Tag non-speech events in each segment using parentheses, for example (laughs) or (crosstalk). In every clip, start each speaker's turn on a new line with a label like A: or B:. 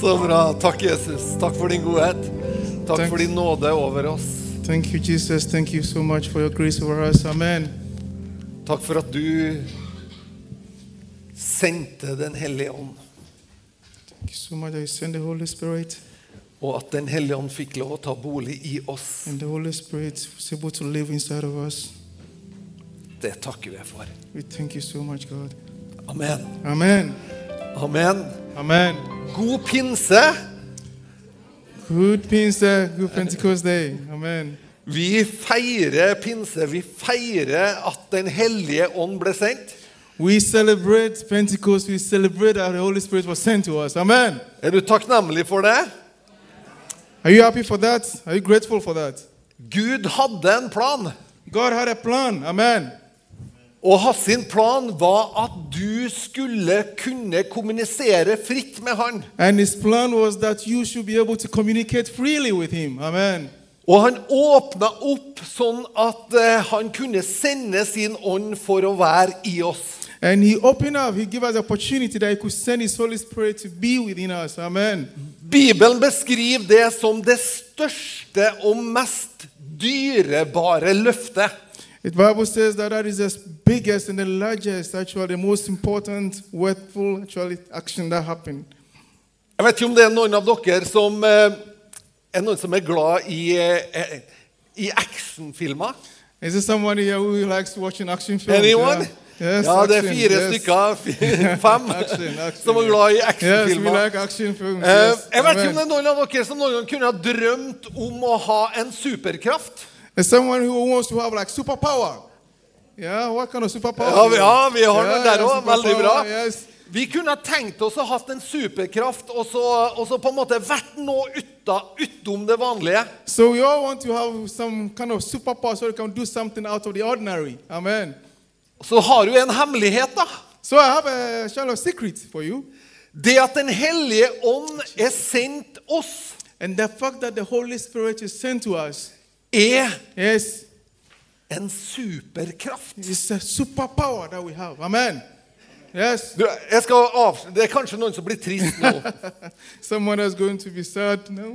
A: Så bra. Takk, Jesus. Takk for din godhet. Takk for din nåde over oss.
B: Thank you, Jesus. Thank you so much for your grace over us. Amen.
A: Takk for at du sendte Den hellige ånd,
B: Thank you so much that you send the Holy Spirit,
A: og at Den hellige ånd fikk lov å ta bolig i oss.
B: and the Holy Spirit was able to live inside of us.
A: Det takker vi for.
B: We thank you so much, God.
A: Amen.
B: Amen.
A: Amen.
B: Amen.
A: God pinse.
B: Good Pinsa, good Pentecost Day. Amen.
A: Vi feirer pinse. Vi feirer at Den hellige ånd ble sendt.
B: We celebrate Pentecost. We celebrate that the Holy Spirit was sent to us. Amen.
A: Er du takknemlig for det?
B: Are you happy for that? Are you grateful for that?
A: Gud hadde en plan,
B: God had a plan. Amen.
A: og hans sin plan var at du skulle kunne kommunisere fritt med han.
B: And his plan was that you should be able to communicate freely with him. Amen.
A: Og han åpna opp sånn at eh, han kunne sende sin ånd for å være i oss.
B: And he opened up, he gave us the opportunity that he could send his Holy Spirit to be within us. Amen.
A: Bibelen beskriver det som det største og mest dyrebare løftet.
B: The Bible says that that is the biggest and the largest, actually, the most important, worthful, actually, action that happened.
A: Jeg vet ikke om det er noen av dere som eh, er noen som er glad i, eh, i actionfilmer.
B: Is there someone here who likes watching action films?
A: Anyone?
B: Yeah. Yes,
A: ja, det er
B: action,
A: fire
B: yes.
A: stykker.
B: (laughs)
A: fi- Fem.
B: Action, action, Uh,
A: som er glad i
B: Yes, we
A: actionfilmer.
B: like action films.
A: Eh,
B: yes.
A: jeg vet ikke om det
B: Amen.
A: er noen av dere som noen gang kunne ha drømt om å ha en superkraft.
B: There's someone who wants to have like superpower. Yeah, what kind of superpower?
A: Ja,
B: do
A: vi,
B: you
A: ja,
B: have?
A: vi har
B: yeah,
A: noe der
B: yeah,
A: òg. Veldig
B: superpower,
A: bra.
B: Yes.
A: Vi kunne ha tenkt oss å ha hatt en superkraft og så, og så på en måte vært noe uta, utom det vanlige.
B: So we all want to have some kind of superpower so we can do something out of the ordinary. Amen.
A: Så har du en hemmelighet, da.
B: So I have a shallow secret for you.
A: Det at Den hellige ånd er sendt oss,
B: And the fact that the Holy Spirit is sent to us,
A: er
B: yes,
A: en superkraft.
B: it's a superpower that we have. Amen. Yes. (laughs)
A: Du, jeg skal avsl- Det er kanskje noen som blir trist nå.
B: Someone is going to be sad now.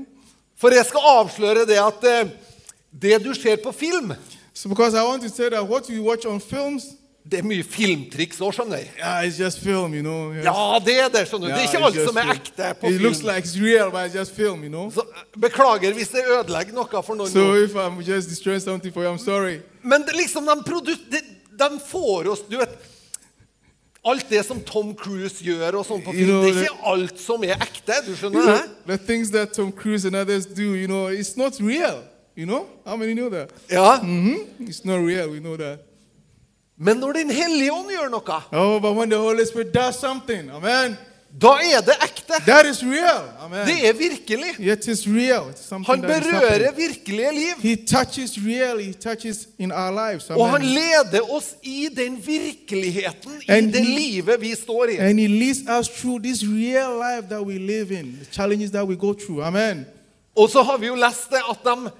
A: For jeg skal avsløre det at eh, det du ser på film
B: So because I want to say that what we watch on films,
A: Det er mye filmtriks òg, skjønner jeg.
B: yeah, it's just film, you know. yes.
A: Ja, det er det, skjønner du. Det er
B: Yeah,
A: ikke
B: it's
A: alt
B: just
A: som er
B: film.
A: ekte på
B: It looks
A: film.
B: like it's real, but it's just film, you know.
A: Så, eh, beklager hvis det ødelegger noe for noen.
B: So if I'm just destroying something for you, I'm sorry.
A: Men det, liksom, de, produ- de, de får oss Du vet Alt det som Tom Cruise gjør og sånn på
B: You
A: film,
B: know,
A: det er
B: det-
A: ikke alt som er ekte. Du
B: You
A: skjønner
B: know,
A: det?
B: the things that Tom Cruise and others do, you know, it's not real. You know? How many know that?
A: Ja.
B: hmm It's not real, we know that.
A: Men når Den hellige ånd gjør noe,
B: Oh, but when the Holy Spirit does something, amen,
A: da er det ekte.
B: that is real. Amen.
A: Det er virkelig.
B: It is real. It's something
A: Han
B: that is happening.
A: berører virkelige liv.
B: He touches real, he touches in our lives.
A: Og han
B: Amen.
A: leder oss i den virkeligheten, i
B: And
A: det
B: he-
A: livet vi står i.
B: And he leads us through this real life that we live in, the challenges that we go through. Amen.
A: Og så har vi jo lest det at de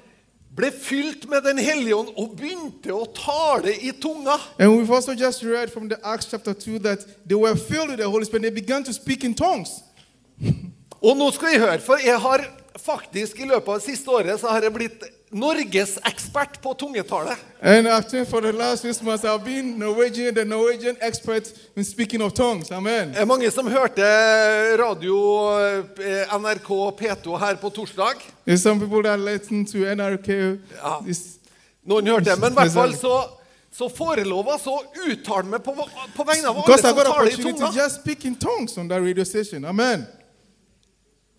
A: ble fylt med Den hellige ånd og begynte å tale i tunga.
B: And we've also just read from the Acts chapter 2 that they were filled with the Holy Spirit. They began to speak in tongues.
A: Og nå skal jeg høre, for jeg har faktisk i løpet av det siste året så har jeg blitt norgesekspert på tungetale.
B: And after for the last six months, I've been Norwegian, the Norwegian expert in speaking of tongues. Amen.
A: Det er mange som hørte radio eh, NRK P2 her på torsdag.
B: There's some people that listen to NRK.
A: Yeah.
B: This,
A: Noen hørte det, men i hvert fall så, så forelova så uttaler meg på, på vegne av alle
B: because I
A: som
B: got
A: taler i
B: opportunity to
A: tunga.
B: just speak in tongues on that radio station. Amen.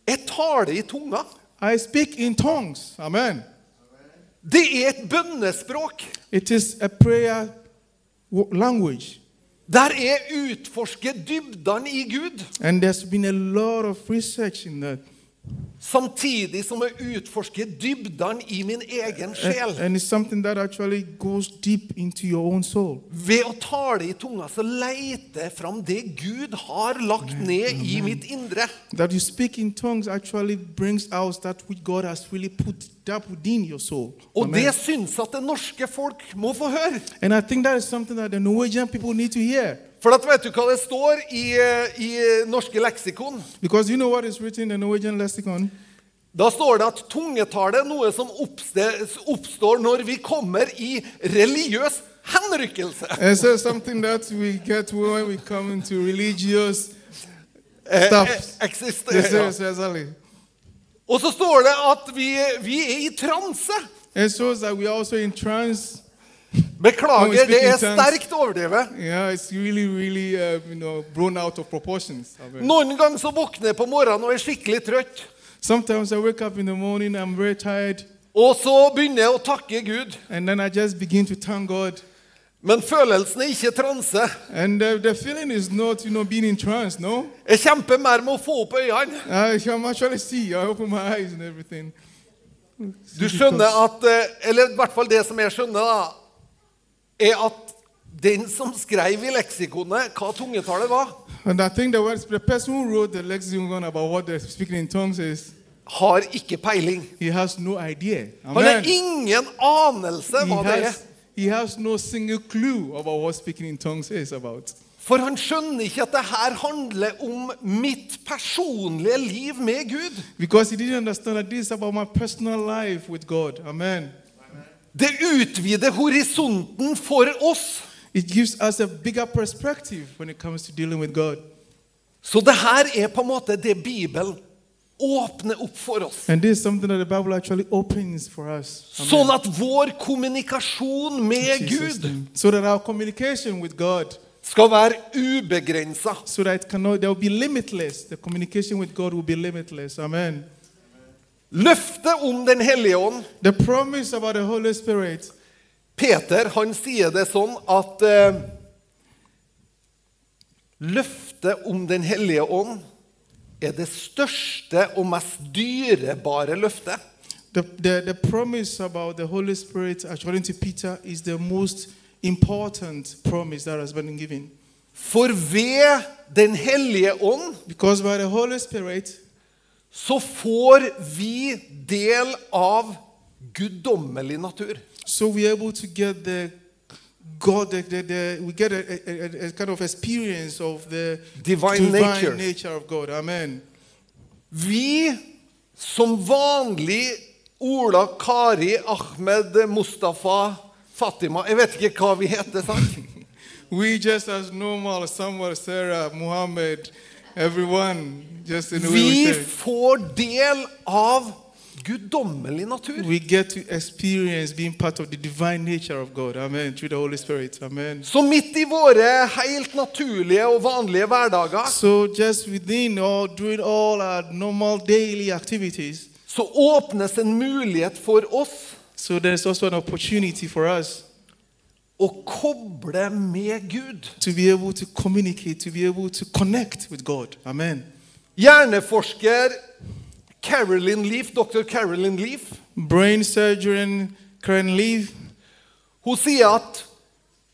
A: Jeg taler i tunga.
B: I speak in tongues. Amen.
A: Det er et bønnespråk.
B: It is a prayer w- language.
A: Der er utforske dybdene i Gud,
B: And there's been a lot of research in that.
A: samtidig som jeg utforsker dybdene i min egen sjel.
B: And, and it's something that actually goes deep into your own soul.
A: Ved å tale i tunga så leter jeg fram det Gud har lagt ned i mitt indre.
B: That you speak in tongues actually brings out that which God has really put up within your soul.
A: Og
B: Amen.
A: det syns at det norske folk må få høre.
B: And I think that is something that the Norwegian people need to hear.
A: For at vet du hva det står i, eh, i norske leksikon?
B: Because you know what is written in the Norwegian lexicon?
A: Da står det at tungetale er noe som oppste- oppstår når vi kommer i religiøs henrykkelse.
B: And so something that we get when we come into religious
A: Eh,
B: stuff.
A: eh, eksister-
B: Yes,
A: ja.
B: yes, exactly.
A: Og så står det at vi, vi er i transe.
B: It shows that we are also in trance. When we
A: Beklager,
B: speak
A: det
B: in
A: er
B: tongues.
A: sterkt overdrevet.
B: Yeah, it's really, really, uh, you know, blown out of proportions. I mean,
A: Noen ganger så våkner jeg på morgenen og er skikkelig trøtt.
B: Sometimes I wake up in the morning, I'm very tired,
A: Og så begynner jeg å takke Gud.
B: and then I just begin to thank God.
A: Men følelsen er ikke transe.
B: And uh, the feeling is not, you know, being in trance, no?
A: Jeg kjemper mer med å få opp øynene.
B: I can actually see, I open my eyes and everything.
A: Du skjønner at eh, Eller i hvert fall det som jeg skjønner, da, er at den som skrev i leksikonet hva tungetallet var,
B: And I think the, words, the person who wrote the lexicon about what the speaking in tongues is,
A: har ikke peiling.
B: he has no idea.
A: Han har
B: Amen.
A: ingen anelse
B: he,
A: hva det er.
B: has, he has no single clue about what speaking in tongues is about.
A: For han skjønner ikke at det her handler om mitt personlige liv med Gud.
B: Because he didn't understand that this is about my personal life with God. Amen.
A: Det utvider horisonten for oss.
B: It gives us a bigger perspective when it comes to dealing with God.
A: Så det her er på en måte det Bibelen åpner opp for oss.
B: And this is something that the Bible actually opens for us. Amen.
A: Sånn at vår kommunikasjon med
B: In Jesus'
A: Gud
B: name. So that our communication with God,
A: skal være ubegrensa.
B: so that it cannot, there will be limitless. The communication with God will be limitless. Amen.
A: Løftet om Den hellige ånd
B: The promise about the Holy Spirit.
A: Peter han sier det sånn at eh, Løftet om Den hellige ånd er det største og mest dyrebare løftet.
B: The, the, the promise about the Holy Spirit, according to Peter, is the most important promise that has been given.
A: For ved Den hellige ånd
B: Because by the Holy Spirit,
A: så får vi del av guddommelig natur.
B: so we're able to get the God, the, the, the, we get a, a, a, a kind of experience of the
A: Divine nature.
B: nature. of God. Amen.
A: Vi som vanlig Ola, Kari, Ahmed, Mustafa, Fatima Jeg vet ikke hva vi heter, sant?
B: We just as normal, Samuel, Sarah, Muhammad, everyone, just in the way
A: Vi
B: we say.
A: får del av guddommelig natur.
B: We get to experience being part of the divine nature of God. Amen. Through the Holy Spirit. Amen.
A: Så midt i våre helt naturlige og vanlige hverdager
B: So just within or doing all our normal daily activities,
A: så åpnes en mulighet for oss
B: so there's also an opportunity for us
A: å koble med Gud.
B: to be able to communicate, to be able to connect with God. Amen.
A: Hjerneforsker Carolyn Leaf, dr. Carolyn Leaf
B: Brain surgeon Karen Leaf,
A: hun sier at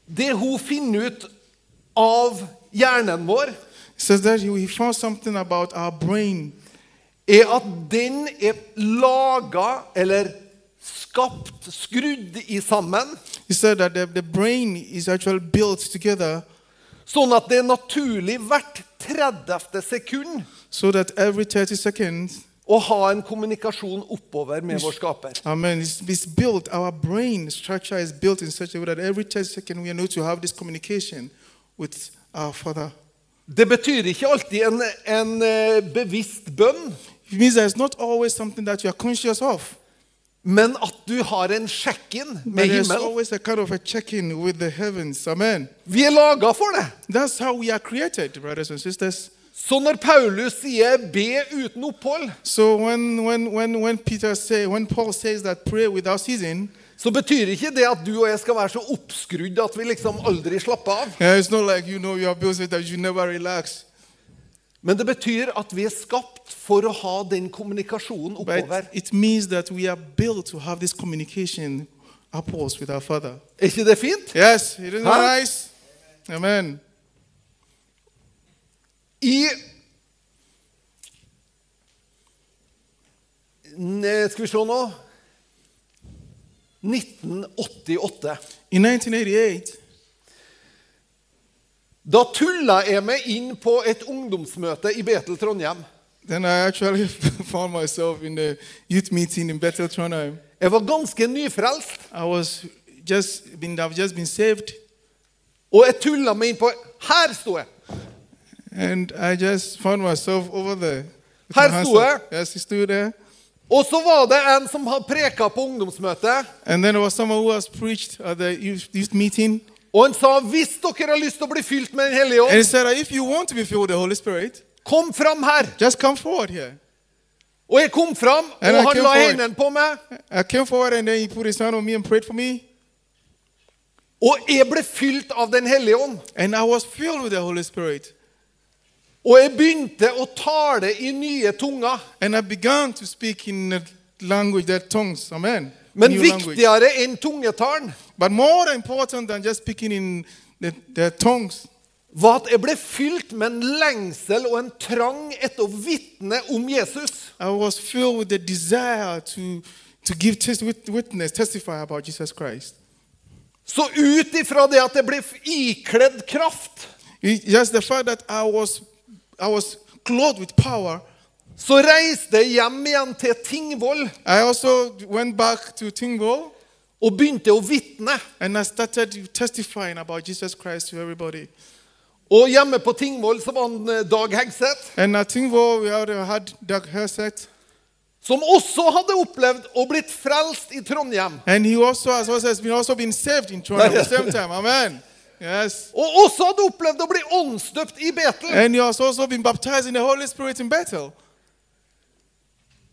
A: det hun finner ut av hjernen vår,
B: says that he he found something about our brain
A: er at den er laga eller skapt, skrudd i sammen,
B: He said that the, the brain is actually built together
A: sånn at det er naturlig hvert 30. sekund
B: so that every 30 seconds,
A: å ha en kommunikasjon oppover med vår skaper.
B: amen, it's, it's built, our brain structure is built in such a way that every 30 seconds we are know to have this communication with our Father.
A: Det betyr ikke alltid en, en eh, bevisst bønn,
B: It means that it's not always something that you are conscious of,
A: men at du har en check-in
B: but
A: med
B: there's
A: himmelen.
B: always a kind of a check in with the heavens. Amen.
A: Vi er laga for det.
B: That's how we are created, brothers and sisters.
A: Så når Paulus sier 'be uten opphold',
B: So when, when, when, when Peter say, when Paul says that pray without ceasing,
A: så betyr ikke det at du og jeg skal være så oppskrudd at vi liksom aldri slapper av.
B: yeah, it's not like you know you are built so that you never relax.
A: Men det betyr at vi er skapt for å ha den kommunikasjonen oppover.
B: But it means that we are built to have this communication upwards with our Father.
A: Er ikke det fint?
B: Yes, it is
A: Huh?
B: nice. Amen.
A: I Ne- Skal vi se nå 1988.
B: In 1988,
A: Da tulla jeg meg inn på et ungdomsmøte i Betel Trondheim.
B: Then I actually (laughs) found myself in the youth meeting in Bethel, Trondheim.
A: Jeg var ganske nyfrelst,
B: I was just been, I've just been saved,
A: og jeg tulla meg inn på Her sto jeg!
B: and I just found myself over there. with
A: Her
B: my hands
A: sto
B: up.
A: jeg.
B: Yes, he stood there.
A: Og så var det en som hadde preka på ungdomsmøtet,
B: And then there was someone who has preached at the youth, youth meeting.
A: og han sa hvis dere har lyst til å bli fylt med Den hellige
B: And he
A: ånd,
B: said, if you want to be filled with the Holy Spirit,
A: kom fram her!
B: just come forward here.
A: Og jeg kom fram,
B: And
A: og
B: I
A: han
B: came
A: la
B: forward.
A: hendene på meg,
B: I came forward and then he put his hand on me and prayed for me.
A: og jeg ble fylt av Den hellige ånd.
B: And I was filled with the Holy Spirit.
A: Og jeg begynte å tale i nye tunger.
B: And I began to speak in a language that tongues, amen.
A: Men
B: New language.
A: viktigere enn tungetalen
B: But more important than just speaking in the, the tongues
A: var at jeg ble fylt med en lengsel og en trang etter å vitne om Jesus.
B: I was filled with the desire to, to give tes- wit- witness, testify about Jesus Christ.
A: Så ut ifra det at jeg ble ikledd kraft,
B: It- Just the fact that I was, I was clothed with power,
A: så reiste jeg hjem igjen til Tingvoll
B: I also went back to Tingo
A: og begynte å vitne.
B: and I started testifying about Jesus Christ to everybody.
A: Og hjemme på Tingvoll så var han eh, Dag Hegseth,
B: And at Tingo, we already had Doug Herseth,
A: som også hadde opplevd å blitt frelst i Trondheim.
B: and he also has also has been, also been saved in Toronto at the same time. Amen. Yes.
A: Og også hadde opplevd å bli åndsdøpt i Betel.
B: And he has also been baptized in the Holy Spirit in Bethel.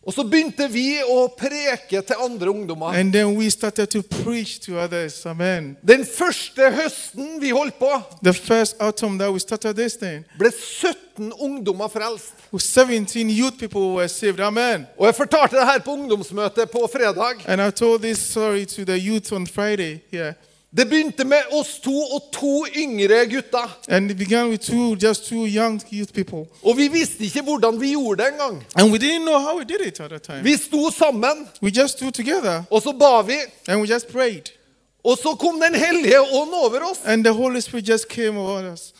A: Og så begynte vi å preke til andre ungdommer.
B: And then we started to preach to others. Amen.
A: Den første høsten vi holdt på,
B: The first autumn that we started this thing,
A: ble 17 ungdommer frelst.
B: with 17 youth people were saved. Amen.
A: Og jeg fortalte det her på ungdomsmøtet på fredag.
B: And I told this story to the youth on Friday here.
A: Det begynte med oss to og to yngre gutter.
B: And it began with two, just two young youth people.
A: Og vi visste ikke hvordan vi gjorde det engang.
B: And we didn't know how we did it at the time.
A: Vi sto sammen,
B: We just stood together
A: og så ba vi.
B: and we just prayed.
A: Og så kom Den hellige ånd over oss.
B: And the Holy Spirit just came over us.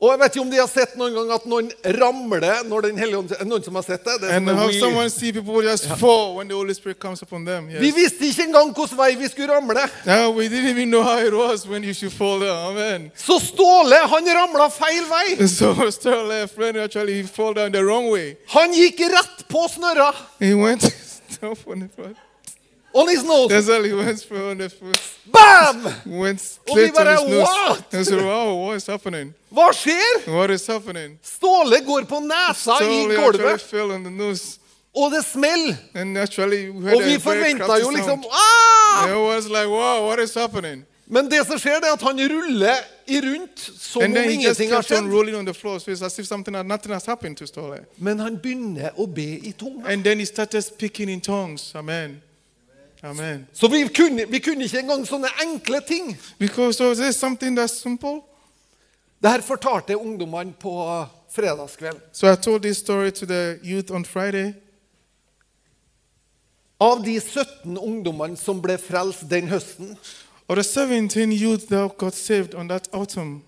A: Og jeg vet ikke om de har sett noen gang at noen ramler når Den hellige ånd er det Noen som har sett det? det er
B: And
A: som en
B: how
A: wheel.
B: someone see people just fall when the Holy Spirit comes upon them.
A: vi
B: Yes.
A: visste ikke engang hvilken vei vi skulle ramle.
B: Now we didn't even know how it was when you should fall down. Amen. (laughs)
A: Så Ståle han ramla feil vei.
B: And so Sterling, a friend, actually fell down the wrong way.
A: Han gikk rett på snørra.
B: He went (laughs) stuff on the front.
A: On his nose.
B: That's all he went for on the first.
A: Bam!
B: Went straight
A: were
B: on his
A: like,
B: nose.
A: "What?"
B: And so, wow, what is happening?
A: Hva skjer?
B: What is happening?
A: Ståle går på nesa i
B: Sterling actually
A: gulvet,
B: fell on the nose.
A: og det smeller.
B: And naturally, we
A: Og
B: heard
A: vi
B: a very
A: forventa
B: crafty
A: jo liksom
B: sound.
A: «Ah!»
B: It was like, wow, what is happening?
A: Men det som skjer, det er at han ruller i rundt som
B: And
A: om
B: then he just
A: ingenting har
B: kept on
A: skjedd.
B: rolling on the floor, so it's as if something, had- nothing has happened to Sterling.
A: Men han begynner å be i tunga.
B: And then he started speaking in tongues. Amen. Amen.
A: Så vi kunne, vi kunne ikke engang sånne enkle ting.
B: Because so is this something that's simple?
A: Det her fortalte jeg ungdommene på fredagskvelden.
B: So I told this story to the youth on Friday.
A: Av de 17 ungdommene som ble frelst den høsten,
B: Of the 17 youth that got saved on that autumn,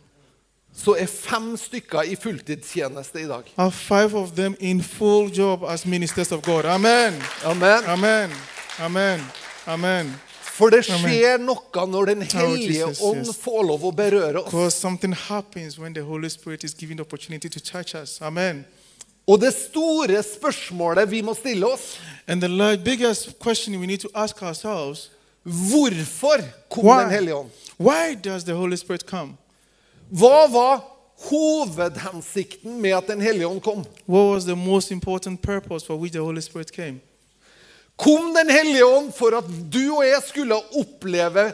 A: så er fem stykker i fulltidstjeneste i dag.
B: are five of them in full job as ministers of God. Amen.
A: Amen.
B: Amen. Amen. Amen.
A: For det skjer noe når Den hellige
B: Jesus,
A: ånd
B: yes.
A: får lov å berøre oss.
B: Because something happens when the Holy Spirit is given the opportunity to touch us. Amen.
A: Og det store spørsmålet vi må stille oss
B: And the la- biggest question we need to ask ourselves
A: Hvorfor kom Den
B: why,
A: hellige ånd?
B: why does the Holy Spirit come?
A: Hva var hovedhensikten med at Den hellige ånd kom?
B: What was the most important purpose for which the Holy Spirit came?
A: Kom Den hellige ånd for at du og jeg skulle oppleve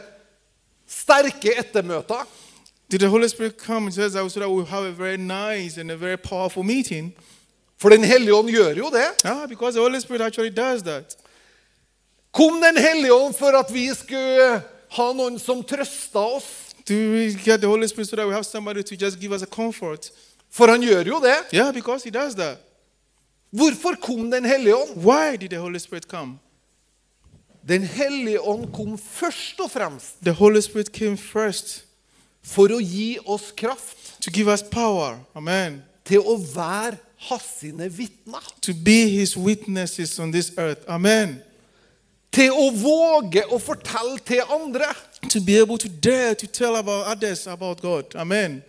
A: sterke ettermøter?
B: Did the Holy Spirit come and says that so that we'll have a very nice and a very powerful meeting?
A: For Den hellige ånd gjør jo det.
B: Ah, because the Holy Spirit actually does that.
A: Kom Den hellige ånd for at vi skulle ha noen som trøsta oss?
B: Do we get the Holy Spirit so that we have somebody to just give us a comfort?
A: For han gjør jo det.
B: Yeah, because He does that.
A: Hvorfor kom Den hellige ånd?
B: Why did the Holy Spirit come?
A: Den hellige ånd kom først og fremst
B: The Holy Spirit came first
A: for å gi oss kraft
B: to give us power. Amen.
A: til å være hans sine vitner.
B: To be his witnesses on this earth. Amen.
A: Til å våge å fortelle til andre.
B: To be able to dare to tell about others about God. Amen.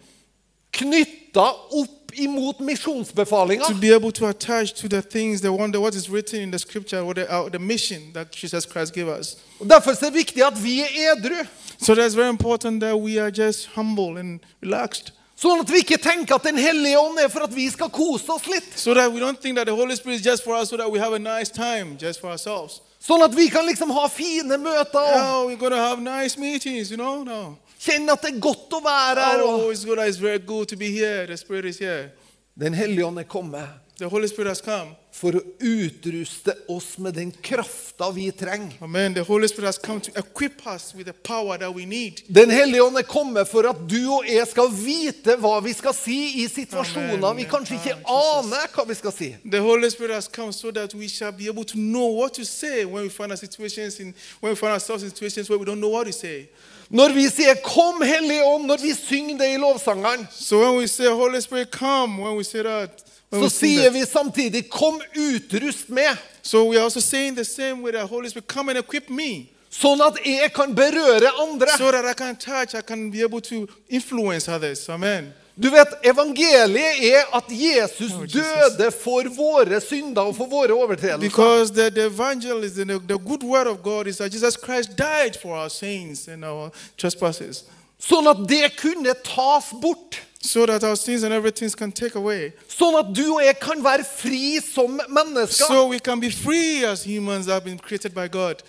A: Knytta opp imot misjonsbefalinga.
B: To be able to attach to the things, the wonder, what is written in the scripture, what the, uh, the mission that Jesus Christ gave us.
A: Derfor er det viktig at vi er edru.
B: So that's very important that we are just humble and relaxed.
A: Sånn at vi ikke tenker at Den hellige ånd er for at vi skal kose oss litt.
B: So that we don't think that the Holy Spirit is just for us, so that we have a nice time just for ourselves.
A: Sånn at vi kan liksom ha fine møter og
B: Oh, we're going to have nice meetings, you know? No.
A: kjenne at det er godt å være her.
B: Oh,
A: Og
B: it's good. It's very good to be here. The Spirit is here.
A: den hellige ånd er kommet
B: The Holy Spirit has come.
A: for å utruste oss med den krafta vi trenger.
B: Amen. The Holy Spirit has come to equip us with the power that we need.
A: Den hellige ånd er kommet for at du og jeg skal vite hva vi skal si i situasjoner
B: Amen.
A: vi kanskje ikke
B: Ah, Jesus.
A: aner hva vi skal si.
B: The Holy Spirit has come so that we shall be able to know what to say when we find our situations in when we find ourselves in situations where we don't know what to say.
A: Når vi sier 'Kom, Hellige Ånd', når vi synger det i lovsangeren,
B: So when we say Holy Spirit come, when we say that, when
A: så
B: we sing
A: sier
B: that-
A: vi samtidig 'Kom utrust med',
B: so we are also saying the same way that Holy Spirit come and equip me
A: sånn at jeg kan berøre andre.
B: so that I can touch, I can be able to influence others. Amen.
A: Du vet, Evangeliet er at Jesus
B: Oh, Jesus.
A: døde for våre synder og for våre overtredelser.
B: Because the, the evangelism, the, the good word of God is that Jesus Christ died for our sins and our trespasses,
A: Sånn at det kunne tas bort.
B: so that our sins and everything can take away.
A: Sånn at du og jeg kan være fri som mennesker
B: So we can be free as humans that have been created by God,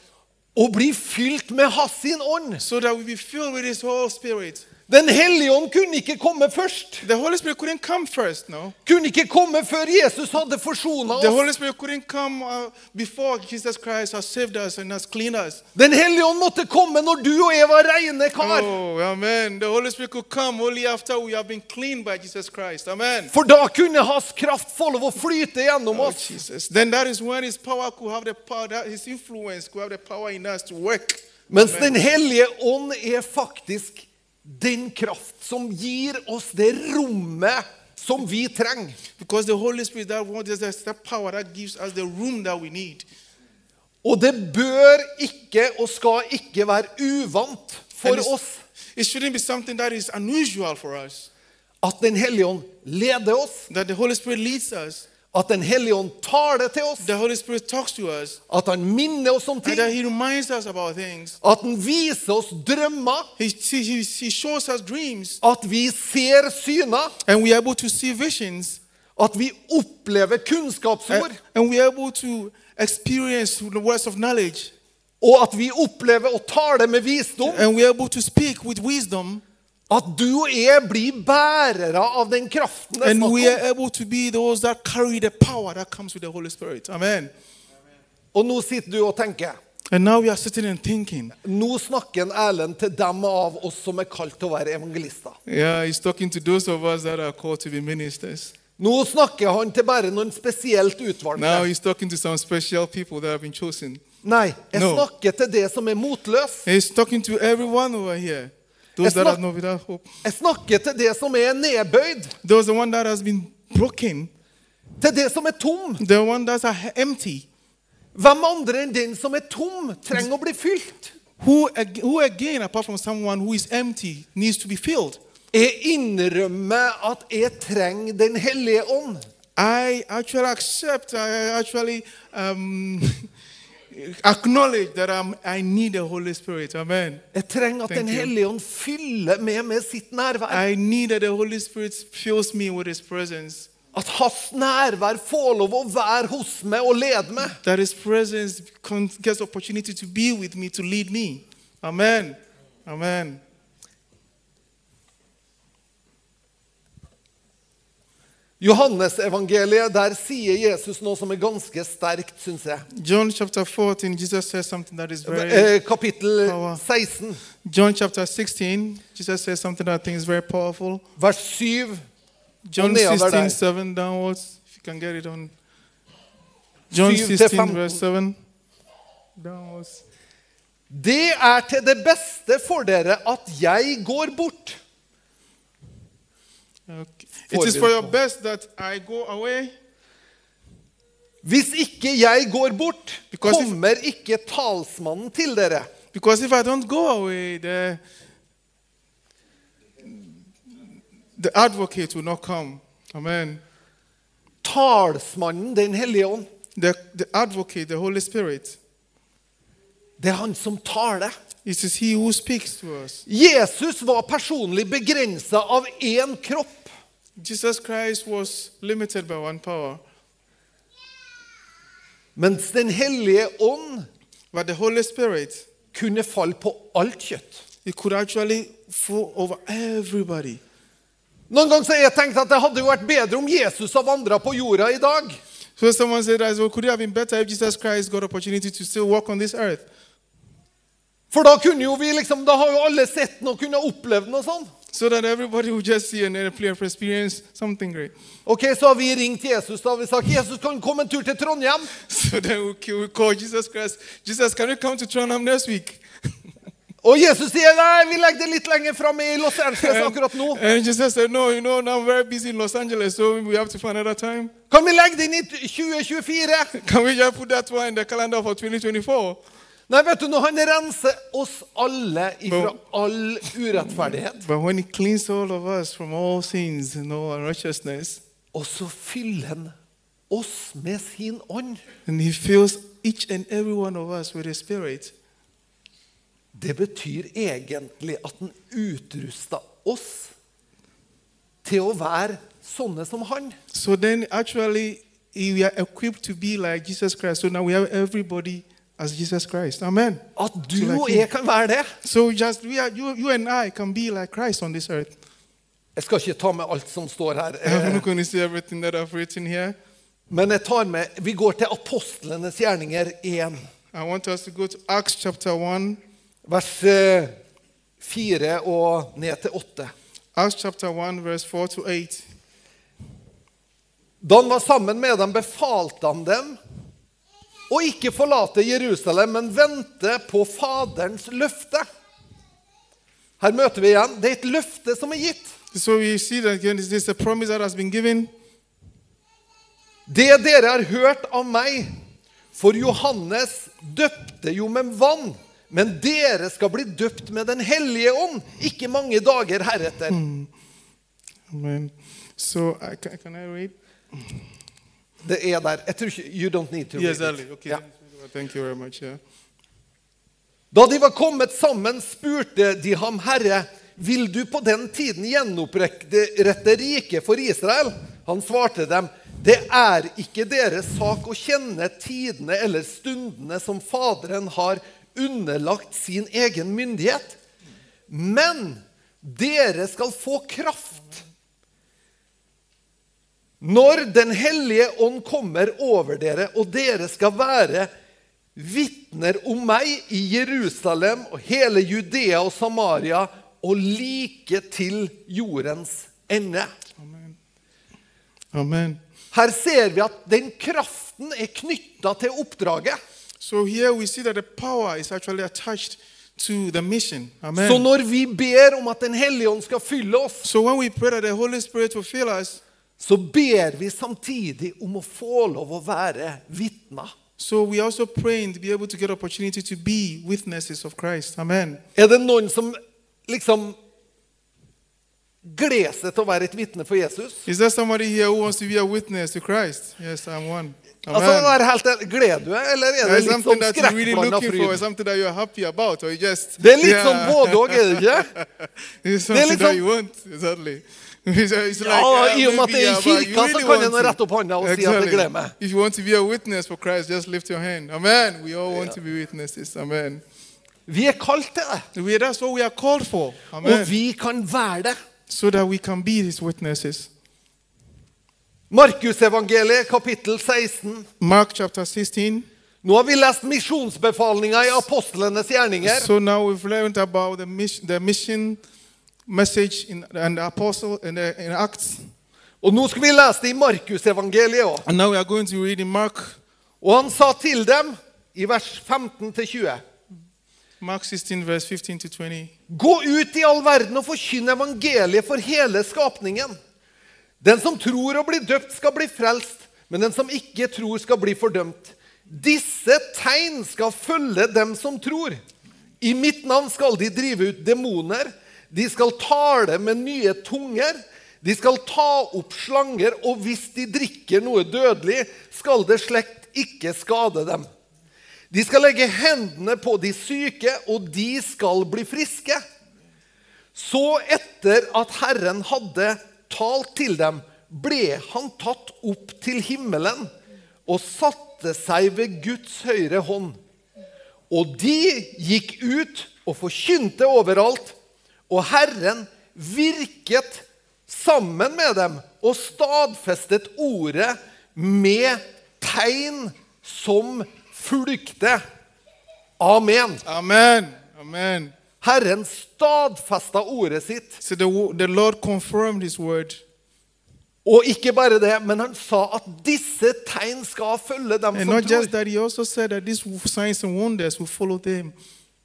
A: og bli fylt med Hans sin ånd.
B: so that we be filled with His whole Spirit.
A: Den hellige ånd kunne ikke komme først.
B: The Holy Spirit couldn't come first, no.
A: Kunne ikke komme før Jesus hadde forsona
B: The
A: oss.
B: Holy Spirit couldn't come uh, before Jesus Christ has saved us and has cleaned us.
A: Den hellige ånd måtte komme når du og jeg var reine kar.
B: Oh, amen. The Holy Spirit could come only after we have been cleaned by Jesus Christ. Amen.
A: For da kunne hans kraft få lov å flyte gjennom
B: Oh,
A: oss.
B: Jesus. Then that is when his power could have the power, that his influence could have the power in us to work.
A: Mens
B: Amen.
A: Den hellige ånd er faktisk den kraft som gir oss det rommet som vi trenger.
B: Because the Holy Spirit, that one, is that that power that gives us the room that we need.
A: Og det bør ikke og skal ikke være uvant
B: And
A: for
B: it's-
A: oss
B: It shouldn't be something that is unusual for us.
A: at Den hellige ånd leder oss,
B: That the Holy Spirit leads us,
A: at Den hellige ånd taler til oss,
B: the Holy Spirit talks to us,
A: at han minner oss om
B: and
A: ting,
B: that He reminds us about things.
A: at han viser oss drømmer,
B: He, he, he he shows us dreams,
A: at vi ser syner,
B: and we are able to see visions,
A: at vi opplever
B: and,
A: kunnskapsord,
B: and we are able to experience the words of knowledge,
A: og at vi opplever å tale med visdom.
B: and we are able to speak with wisdom.
A: At du og jeg blir bærere av den kraften det er
B: And we are
A: snakk om.
B: able to be those that carry the power that comes with the Holy Spirit. Amen.
A: Og nå sitter du og tenker.
B: And now we are sitting and thinking.
A: Nå snakker en Erlend til dem av oss som er kalt til å være evangelister.
B: Yeah, he's talking to those of us that are called to be ministers.
A: Nå snakker han til bare noen spesielt
B: Now
A: utvalgte.
B: he's talking to some special people that have been chosen.
A: Nei, jeg
B: No.
A: snakker til det som er motløs.
B: He's talking to everyone over here. Those
A: It's
B: that
A: not-
B: are not without hope.
A: Jeg snakker til det som er nedbøyd.
B: Those the one that has been broken.
A: Til det som er tom.
B: The one that's are empty.
A: Hvem andre enn den som er tom, trenger å bli fylt?
B: Who, ag- who again, apart from someone who is empty, needs to be filled?
A: Jeg innrømmer at jeg trenger Den hellige ånd.
B: I actually accept, I actually um, (laughs) acknowledge that I'm, I need the Holy Spirit. Amen.
A: Jeg trenger at Den
B: Thank you.
A: hellige ånd fyller meg med sitt nærvær.
B: I need that the Holy Spirit fills me with His presence.
A: At hans nærvær får lov å være hos meg og lede meg.
B: That His presence con- gets opportunity to be with me, to lead me. Amen. Amen.
A: Johannesevangeliet, der sier Jesus noe som er ganske sterkt, syns jeg.
B: John chapter 14, Jesus says something that is very.
A: Eh, Kapittel
B: Hva?
A: 16,
B: John chapter 16, Jesus says something that I think is very powerful.
A: vers 7.
B: John
A: Only other
B: 16,
A: day.
B: 7 downwards. If you can get it on. John
A: Syv til
B: 16,
A: femten.
B: verse 7. Downwards.
A: Det er til det beste for dere at jeg går bort.
B: Okay.
A: Får
B: It is
A: vi
B: for
A: det
B: your
A: på.
B: best that I go away.
A: Hvis ikke jeg går bort,
B: Because if-
A: kommer ikke talsmannen til dere.
B: Because if I don't go away, the, the advocate will not come. Amen.
A: Talsmannen, Den hellige ånd,
B: The, the advocate, the Holy Spirit,
A: det er han som taler.
B: it is He who speaks to us.
A: Jesus var personlig begrensa av én kropp.
B: Jesus Christ was limited by one power,
A: Mens Den hellige ånd
B: but the Holy Spirit,
A: kunne falle på alt kjøtt.
B: He could actually fall over everybody.
A: Noen ganger så har jeg tenkt at det hadde jo vært bedre om Jesus har vandra på jorda i dag.
B: So someone said, that, well, could it have been better if Jesus Christ got opportunity to still walk on this earth?
A: For da kunne jo vi liksom, da har jo alle sett noe, kunne opplevd noe sånn.
B: So that everybody would just see and then play and experience something great.
A: Ok, Så har vi ringt Jesus da har vi sagt Jesus kan du komme en tur til Trondheim.
B: (laughs) So then we ca- we call Jesus Christ. Jesus, can you come to Trondheim next week?
A: Og Jesus sier nei, vi legger det litt lenger fram i Los Angeles akkurat
B: (laughs)
A: nå.
B: And Jesus said, No, you know, now I'm very busy in Los Angeles, so we have to find another time. (laughs)
A: Kan vi legge det inn i 2024?
B: Can we just put that one in the calendar for 2024?
A: Nei, vet du, når han renser oss alle ifra
B: Men-
A: all urettferdighet,
B: But when He cleans all of us from all sins and all unrighteousness,
A: og så fyller han oss med sin ånd
B: and He fills each and every one of us with His Spirit,
A: Det betyr egentlig at han utrusta oss til å være sånne som han.
B: so then actually he- we are equipped to be like Jesus Christ. So now we have everybody as Jesus Christ. Amen.
A: At du
B: Så det er
A: og
B: ikke-
A: jeg kan være det.
B: So just we are you, you and I can be like Christ on this earth.
A: Jeg skal ikke ta med alt som står her,
B: I'm
A: eh,
B: not going to see everything that I've written here.
A: men jeg tar med, vi går til apostlenes gjerninger 1,
B: I want us to go to Acts chapter 1.
A: vers eh, 4 og ned til 8.
B: Acts chapter 1, verse 4 to 8.
A: Da han var sammen med dem, befalte han dem å ikke forlate Jerusalem, men vente på Faderens løfte. Her møter vi igjen. Det er et løfte som er gitt.
B: So we see that again, this is a promise that has been given.
A: Det dere har hørt av meg For Johannes døpte jo med vann, men dere skal bli døpt med Den hellige ånd, ikke mange dager heretter.
B: Hmm. Amen. So I, ca- can I read?
A: Det er der. Jeg tror ikke, you don't need to read
B: Yes,
A: it.
B: Ali. Okay.
A: Ja.
B: Thank you very much. Yeah.
A: Da de var kommet sammen, spurte de ham, Herre, vil du på den tiden gjenopprette riket for Israel? Han svarte dem, det er ikke deres sak å kjenne tidene eller stundene som Faderen har underlagt sin egen myndighet. Men dere skal få kraft når Den hellige ånd kommer over dere, og dere skal være vitner om meg i Jerusalem og hele Judea og Samaria og like til jordens ende.
B: Amen. Amen.
A: Her ser vi at den kraften er knytta til oppdraget.
B: So here we see that the power is actually attached to the mission.
A: Så
B: Amen.
A: når vi ber om at Den hellige ånd skal fylle oss,
B: So when we pray that the Holy Spirit will fill us,
A: så ber vi samtidig om å få lov å være vitner.
B: so we also praying to be able to get opportunity to be witnesses of Christ. Amen.
A: Er det noen som liksom gleder seg til å være et vitne for Jesus?
B: Is there somebody here who wants to be a witness to Christ? Yes, I'm one. Amen.
A: Altså, være helt ærlig, Gleder du deg, eller er
B: There
A: det
B: is
A: litt
B: something
A: sånn
B: that you're really
A: skrekkblanda
B: looking for,
A: fryd?
B: something that you're happy about, or you just
A: Det er litt
B: Yeah.
A: sånn både òg, er det ikke?
B: (laughs) It's something
A: litt
B: that
A: sånn-
B: you want, exactly. (laughs) It's like,
A: Ja,
B: uh,
A: i og med at det er i
B: maybe, yeah, but you
A: kirka, så
B: really
A: kan
B: want
A: en
B: to.
A: rette opp hånda og si at jeg glemmer.
B: If you want to be a witness for Christ, just lift your hand. Amen. We all want to be witnesses. Amen.
A: Vi er kalt til det,
B: We, that's what we are called for.
A: og
B: Amen.
A: vi kan være det.
B: so that we can be his witnesses.
A: Markusevangeliet, kapittel 16.
B: Mark chapter 16.
A: Nå har vi lest misjonsbefalinga i apostlenes gjerninger.
B: So now we've learned about the mission, the mission message in, and the apostle in, the, in Acts.
A: Og nå skal vi lese det i Markusevangeliet òg.
B: And now we are going to read in Mark,
A: Og han sa til dem, i vers 15-20
B: Mark 16, verse 15 to 20.
A: Gå ut i all verden og forkynn evangeliet for hele skapningen. Den som tror og blir døpt, skal bli frelst, men den som ikke tror, skal bli fordømt. Disse tegn skal følge dem som tror. I mitt navn skal de drive ut demoner. De skal tale med nye tunger. De skal ta opp slanger, og hvis de drikker noe dødelig, skal det slett ikke skade dem. De skal legge hendene på de syke, og de skal bli friske. Så etter at Herren hadde talt til dem, ble han tatt opp til himmelen og satte seg ved Guds høyre hånd. Og de gikk ut og forkynte overalt, og Herren virket sammen med dem og stadfestet ordet med tegn som fulgte. Amen.
B: Amen. Amen.
A: Herren stadfesta ordet sitt.
B: So the, wo- the Lord confirmed his word.
A: Og ikke bare det, men han sa at disse tegn skal følge dem
B: And
A: som
B: not just
A: tror.
B: that, he also said that these signs and wonders will follow them.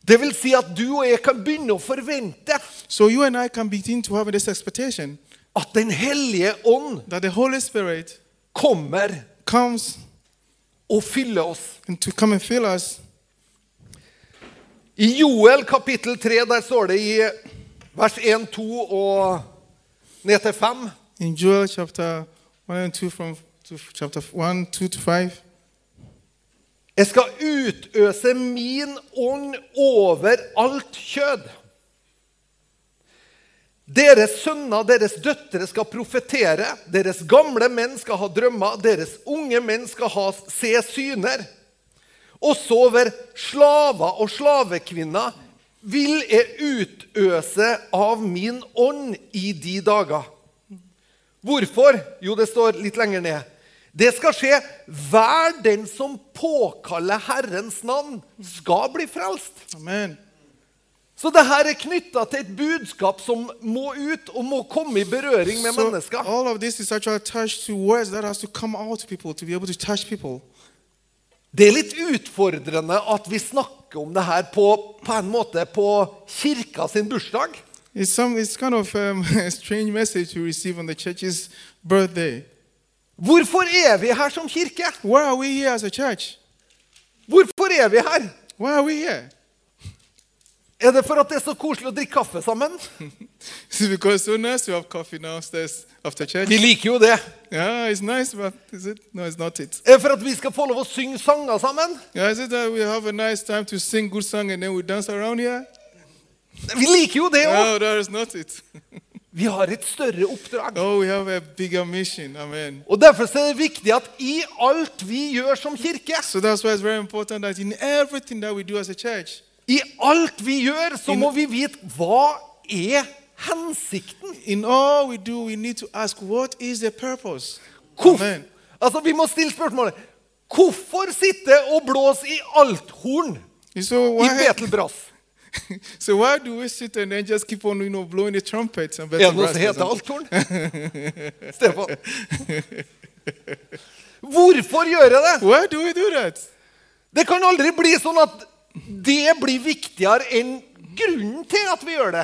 A: Det vil si at du og jeg kan begynne å forvente
B: So you and I can begin to have this expectation
A: at Den hellige ånd
B: that the Holy Spirit
A: kommer
B: comes
A: og fyller oss.
B: and to come and fill us.
A: I Joel kapittel 3, der står det i vers 1, 2 og ned til 5
B: In Joel chapter 1 and 2 from to chapter 1, 2 to 5.
A: Jeg skal utøse min ånd over alt kjød. Deres sønner, deres døtre skal profetere. Deres gamle menn skal ha drømmer. Deres unge menn skal ha, se syner. Også over slaver og slavekvinner vil jeg utøse av min ånd i de dager. Hvorfor? Jo, det står litt lenger ned. Det skal skje. Hver den som påkaller Herrens navn, skal bli frelst.
B: Amen.
A: Så det her er knytta til et budskap som må ut og må komme i berøring med
B: So
A: mennesker.
B: all of this is actually attached to words that has to come out to people to be able to touch people.
A: Det er litt utfordrende at vi snakker om det her på, på en måte på kirka sin bursdag.
B: It's some it's kind of um, (laughs) a strange message to receive on the church's birthday.
A: Hvorfor er vi her som kirke?
B: Why are we here as a church?
A: Hvorfor er vi her?
B: Why are we here? (laughs)
A: Er det for at det er så koselig å drikke kaffe sammen?
B: Is it because so nice to have coffee downstairs after church?
A: Vi liker jo det.
B: Yeah, it's nice, but is it? No, it's not it.
A: Er det for at vi skal få lov å synge sanger sammen?
B: Yeah, is it that we have a nice time to sing good song and then we dance around here?
A: Vi liker jo det òg.
B: No, that is not it. (laughs)
A: Vi har et større oppdrag.
B: Oh, we have a bigger mission. Amen.
A: Og Derfor så er det viktig at i alt vi gjør som kirke,
B: So that's why it's very important that in everything that we do as a church,
A: i alt vi gjør, så må vi vite hva er hensikten?
B: in all we do, we need to ask what is the purpose?
A: Hvorf-
B: Amen.
A: altså, vi må stille spørsmålet Hvorfor sitte og blåse i althorn
B: So
A: i
B: why,
A: Betelbrass?
B: so why do we sit and then just keep on, you know, blowing the trumpets and
A: Er det noe som
B: brass-
A: heter althorn? Stefan? (laughs) Hvorfor gjøre det?
B: Why do we do that?
A: Det kan aldri bli sånn at det blir viktigere enn grunnen til at vi gjør det.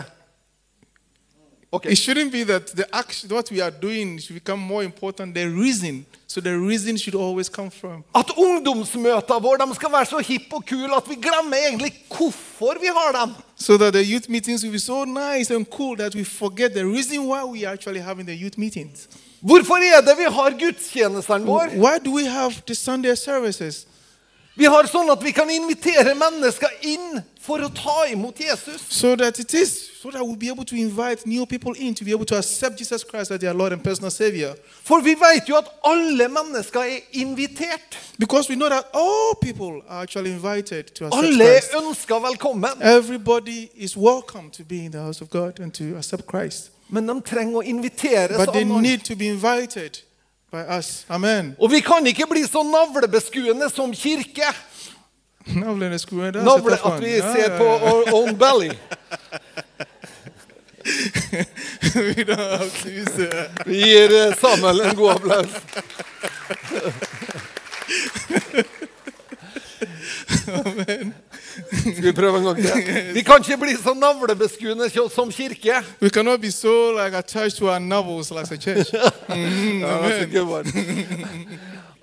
A: Ok.
B: It shouldn't be that the action, what we are doing should become more important than reason. So the reason should always come from.
A: At ungdomsmøtene våre de skal være så hippe og kule at vi glemmer egentlig hvorfor vi har dem.
B: So that the youth meetings will be so nice and cool that we forget the reason why we are actually having the youth meetings.
A: Hvorfor er det vi har gudstjenestene våre?
B: Why do we have the Sunday services?
A: Vi har sånn at vi kan invitere mennesker inn for å ta imot Jesus.
B: So that it is, so that we'll be able to invite new people in to be able to accept Jesus Christ as their Lord and personal Savior.
A: For vi vet jo at alle mennesker er invitert.
B: Because we know that all people are actually invited to accept
A: Alle
B: Christ.
A: er ønska velkommen.
B: Everybody is welcome to be in the house of God and to accept Christ.
A: Men de trenger å inviteres
B: But
A: av
B: they
A: noen.
B: need to be invited by us. (laughs) Amen.
A: Og vi kan ikke bli så navlebeskuende som kirke.
B: Navle and screw, eh? that's a
A: Navle,
B: tough
A: at
B: one.
A: vi
B: Yeah,
A: ser
B: yeah,
A: på
B: yeah.
A: our own belly.
B: (laughs) we don't have to use uh,
A: Vi gir eh, Samuel en god applaus. Skal vi prøve en gang til? Vi kan ikke bli så navlebeskuende kj- som kirke.
B: We cannot be so like attached to our novels like the church.
A: Ja, det er så gøy bare.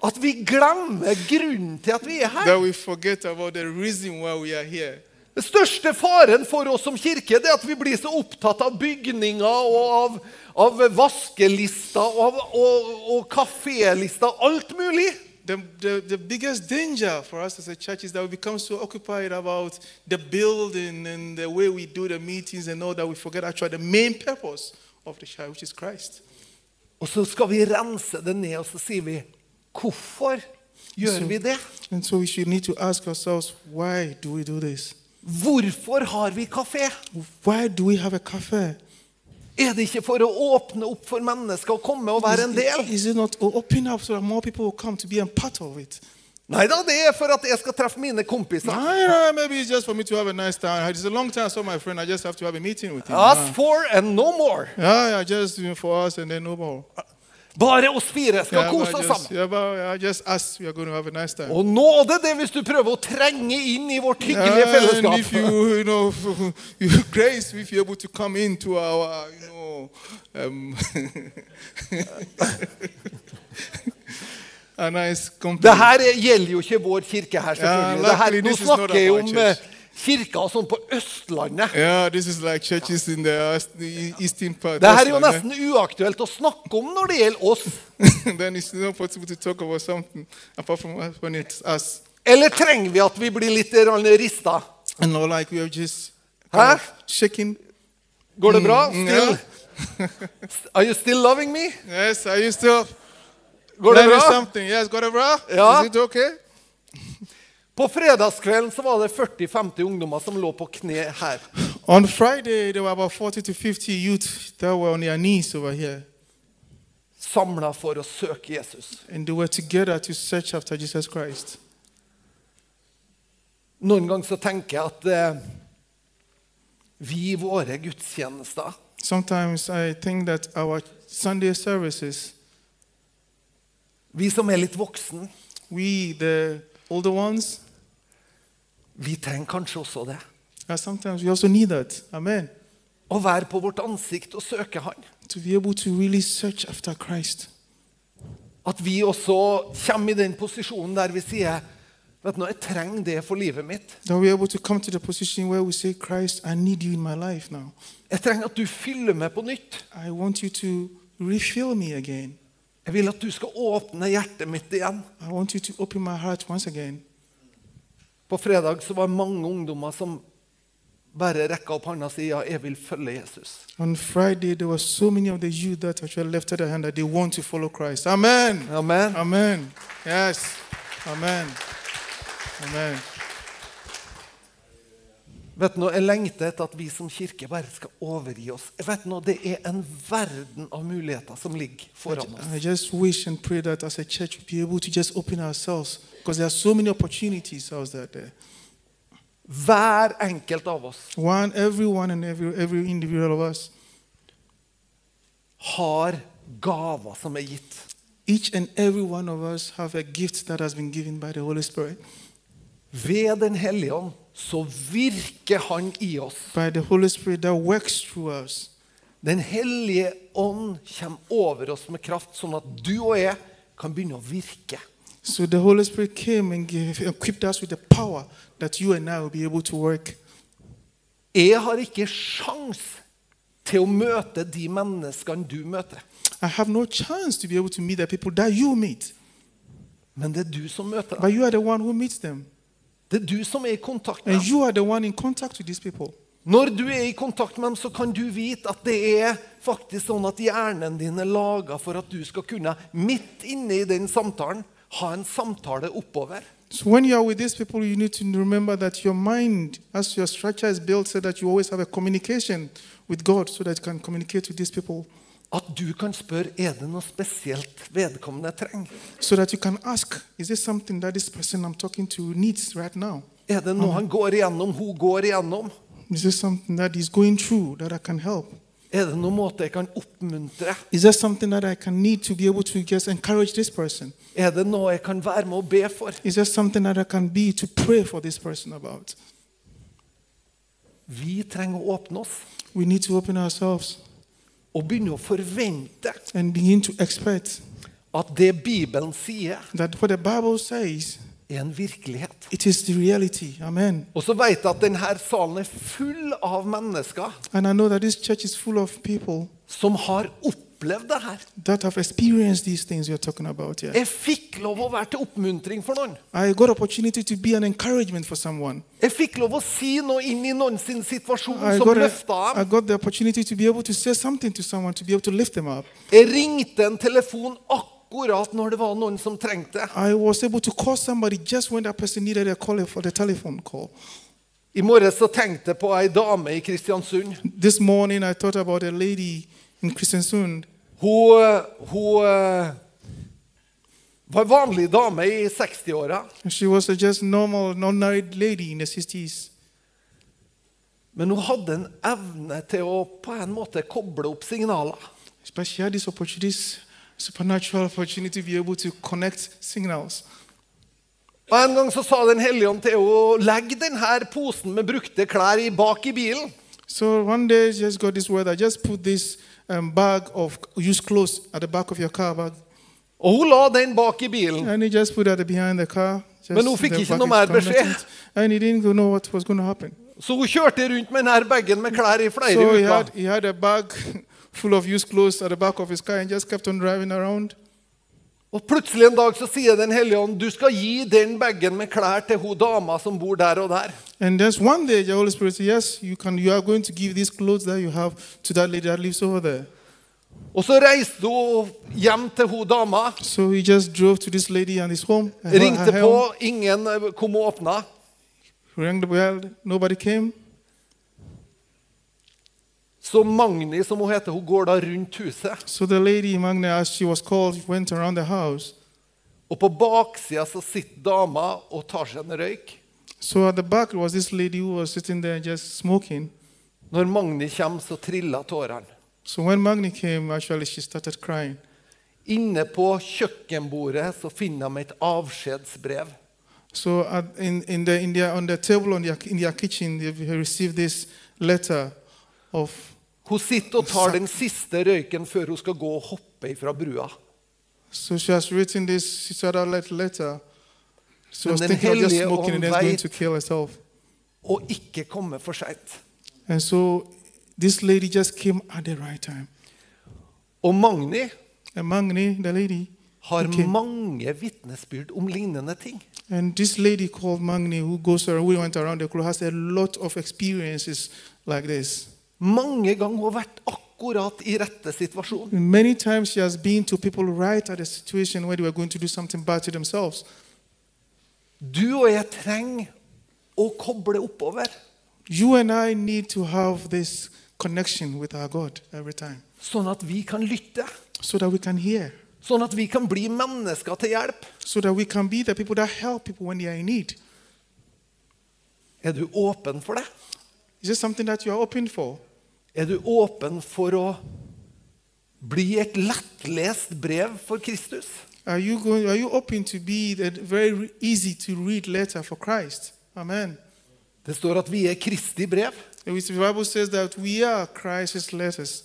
A: At vi glemmer grunnen til at vi er her.
B: that we forget about the reason why we are here.
A: Den største faren for oss som kirke det er at vi blir så opptatt av bygninger og av, av vaskelister og, av- og, og kafélister. Alt mulig.
B: The, the, the biggest danger for us as a church is that we become so occupied about the building and the way we do the meetings and all that we forget actually the main purpose of the church, which is Christ.
A: Og så skal vi rense det ned, og så sier vi Hvorfor gjør vi det?
B: And so we should need to ask ourselves, why do we do this?
A: Hvorfor har vi kafé?
B: Why do we have a cafe?
A: Er det ikke for å åpne opp for mennesker og komme og være en del?
B: Is it not open up so that more people will come to be a part of it?
A: Nei da, det er for at jeg skal treffe mine kompiser.
B: I don't know, maybe it's just for me to have a nice time. It's a long time I saw my friend. I just have to have a meeting with him.
A: Us four and no more.
B: Yeah, yeah, just you know, for us and then no more.
A: Bare oss fire skal
B: Yeah,
A: kose
B: but
A: oss
B: just,
A: sammen.
B: yeah, but yeah, just us, we are going to have a nice time.
A: Og nåde det er hvis du prøver å trenge inn i vårt hyggelige
B: and if
A: fellesskap.
B: you, you know, (laughs) you, grace, if you're able to come into our, you know, um, (laughs) a nice company.
A: Det her er- gjelder jo ikke vår kirke her, selvfølgelig.
B: Ja,
A: Det her,
B: luckily
A: nå
B: this is not
A: snakker jeg
B: our
A: om
B: church.
A: eh, kirka sånn på Østlandet.
B: Yeah, this is like churches in the, us- the eastern part.
A: Det her er jo
B: Iceland,
A: nesten uaktuelt å snakke om når det gjelder oss.
B: eh? (laughs) then it's not possible to talk about something apart from us when it's us.
A: Eller trenger vi at vi blir litt rista?
B: And not like we are just
A: Huh?
B: kind of shaking.
A: Går det bra? Still?
B: Mm, ja. (laughs)
A: Are you still loving me?
B: Yes, are you still?
A: Går det
B: There is
A: bra?
B: something. Yes, got it, bro?
A: Ja.
B: Is it okay?
A: På fredagskvelden så var det 40-50 ungdommer som lå på kne her.
B: On Friday, there were about 40 to 50 youth that were on their knees over here.
A: Samla for å søke Jesus.
B: And they were together to search after Jesus Christ.
A: Noen ganger så tenker jeg at eh, vi i våre gudstjenester
B: Sometimes I think that our Sunday services,
A: Vi som er litt voksen,
B: we, the older ones,
A: vi trenger kanskje også det.
B: uh, sometimes we also need that. Amen.
A: Å være på vårt ansikt og søke Han.
B: To be able to really search after Christ.
A: At vi også kommer i den posisjonen der vi sier Vet du nå, jeg trenger det for livet mitt.
B: That we're able to come to the position where we say, Christ, I need you in my life now.
A: Jeg trenger at du fyller meg på nytt.
B: I want you to refill me again.
A: Jeg vil at du skal åpne hjertet mitt igjen.
B: I want you to open my heart once again.
A: På fredag så var det mange ungdommer som bare rekka opp hånda og sa ja, jeg vil følge Jesus.
B: On Friday, there were so many of the youth that actually lifted their hand that they want to follow Christ. Amen.
A: Amen.
B: Amen. Yes. Amen. Amen.
A: Vet du nå, Jeg lengter etter at vi som kirke bare skal overgi oss. Vet du nå, Det er en verden av muligheter som ligger foran oss.
B: I just wish and pray that as a church we'll be able to just open ourselves because there are so many opportunities out there. there.
A: Hver enkelt av oss
B: One, everyone and every, every individual of us,
A: har gaver som er gitt.
B: each and every one of us have a gift that has been given by the Holy Spirit.
A: Ved Den hellige ånd så virker Han i oss.
B: By the Holy Spirit that works through us.
A: Den hellige ånd kommer over oss med kraft, sånn at du og jeg kan begynne å virke.
B: So the Holy Spirit came and gave, equipped us with the power that you and I will be able to work.
A: Jeg har ikke sjans til å møte de menneskene du møter.
B: I have no chance to be able to meet the people that you meet,
A: Men det er du som møter dem.
B: but you are the one who meets them,
A: Det er du som er i kontakt med
B: and
A: dem.
B: you are the one in contact with these people.
A: Når du er i kontakt med dem, så kan du vite at det er faktisk sånn at hjernen din er laga for at du skal kunne, midt inne i den samtalen, ha en samtale oppover.
B: So when you are with these people, you need to remember that your mind, as your structure is built, so that you always have a communication with God, so that you can communicate with these people,
A: At du kan spørre er det noe spesielt vedkommende trenger.
B: so that you can ask, is this something that this person I'm talking to needs right now?
A: Er det noe han går igjennom, hun går igjennom?
B: Is this something that is going through that I can help?
A: Er det noen måte jeg kan oppmuntre?
B: Is there something that I can need to be able to just encourage this person?
A: Er det noe jeg kan være med og be for?
B: Is there something that I can be to pray for this person about?
A: Vi trenger å åpne oss
B: We need to open ourselves
A: og begynne å forvente
B: and begin to expect
A: at det Bibelen sier,
B: that what the Bible says,
A: er en virkelighet.
B: it is the reality. Amen.
A: Og så vet jeg at denne salen er full av mennesker
B: And I know that this church is full of people
A: som har opplevd det her.
B: that have experienced these things we are talking about here.
A: Jeg fikk lov å være til oppmuntring for noen.
B: I got opportunity to be an encouragement for someone.
A: Jeg fikk lov å si noe inn i noen sin situasjon
B: I
A: som
B: got, a-
A: løfta
B: I
A: dem.
B: got the opportunity to be able to say something to someone, to be able to lift them up.
A: Jeg ringte en telefon akkurat når det var noen som trengte det.
B: I was able to call somebody just when that person needed a call for the telephone call.
A: I morges så tenkte jeg på ei dame i Kristiansund.
B: This morning I thought about a lady in Kristiansund.
A: Hun, eh, hun eh, var en vanlig dame i 60-åra,
B: And She was a just normal, non-married lady in the 60s.
A: men hun hadde en evne til å på en måte koble opp signaler.
B: But she had this opportunity, this supernatural opportunity to be able to connect signals.
A: Og En gang så sa Den hellige ånd til henne legg denne posen med brukte klær i bak i bilen.
B: So one day she just got this word, I just put this um, bag of used clothes at the back of your car bag.
A: Og hun la den bak i bilen.
B: And he just put it behind the car. Just
A: Men hun fikk
B: the
A: ikke
B: back
A: noe
B: is
A: mer
B: connected.
A: beskjed.
B: And he didn't know what was going to happen.
A: Så hun kjørte rundt med denne bagen med klær i flere
B: So he had,
A: uker.
B: he had a bag (laughs) full of used clothes at the back of his car and just kept on driving around.
A: Og plutselig en dag så sier Den hellige ånd du skal gi den bagen med klær til hun dama som bor der og der.
B: And just one day, the Holy Spirit said, "Yes, you can. You are going to give these clothes that you have to that lady that lives over there."
A: Og så reiste hun hjem til hun dama.
B: So he just drove to this lady and his home. her- her
A: Ringte på,
B: home.
A: ingen eh, kom og åpna.
B: Rang the bell. Nobody came.
A: Så Magni, som hun heter, hun går da rundt huset.
B: So the lady, Magna, as she was called, went around the house.
A: Og på baksida så sitter dama og tar seg en røyk.
B: So at the back was this lady who was sitting there just smoking.
A: Når Magni kommer, så triller tårene.
B: So when Magni came, actually, she started crying.
A: Inne på kjøkkenbordet så finner de et avskjedsbrev.
B: So at, in, in the, in their, on the table on their, in their kitchen, they received this letter of
A: Hun sitter og tar den siste røyken før hun skal gå og hoppe ifra brua.
B: So she has written this suicidal letter. She
A: Men
B: was
A: den
B: thinking of just
A: hellige
B: smoking and
A: ånd
B: then going
A: vet.
B: to kill herself.
A: Og ikke komme for seint.
B: And so this lady just came at the right time.
A: Og Magni
B: And Magni, the lady,
A: har
B: Okay.
A: mange vitnesbyrd om lignende ting.
B: and this lady called Magni, who goes around, we went around the crew, has a lot of experiences like this.
A: Mange ganger hun har vært akkurat i rette situasjon.
B: And many times she has been to people right at a situation where they were going to do something bad to themselves.
A: Du og jeg trenger å koble oppover,
B: You and I need to have this connection with our God every time
A: sånn at vi kan lytte.
B: so that we can hear.
A: Sånn at vi kan bli mennesker til hjelp.
B: so that we can be the people that help people when they are in need.
A: Er du åpen for det?
B: Is this something that you are open for?
A: Er du åpen for å bli et lettlest brev for Kristus?
B: Are you going? Are you open to be the very re- easy to read letter for Christ? Amen.
A: Det står at vi er Kristi brev.
B: If The Bible says that we are Christ's letters.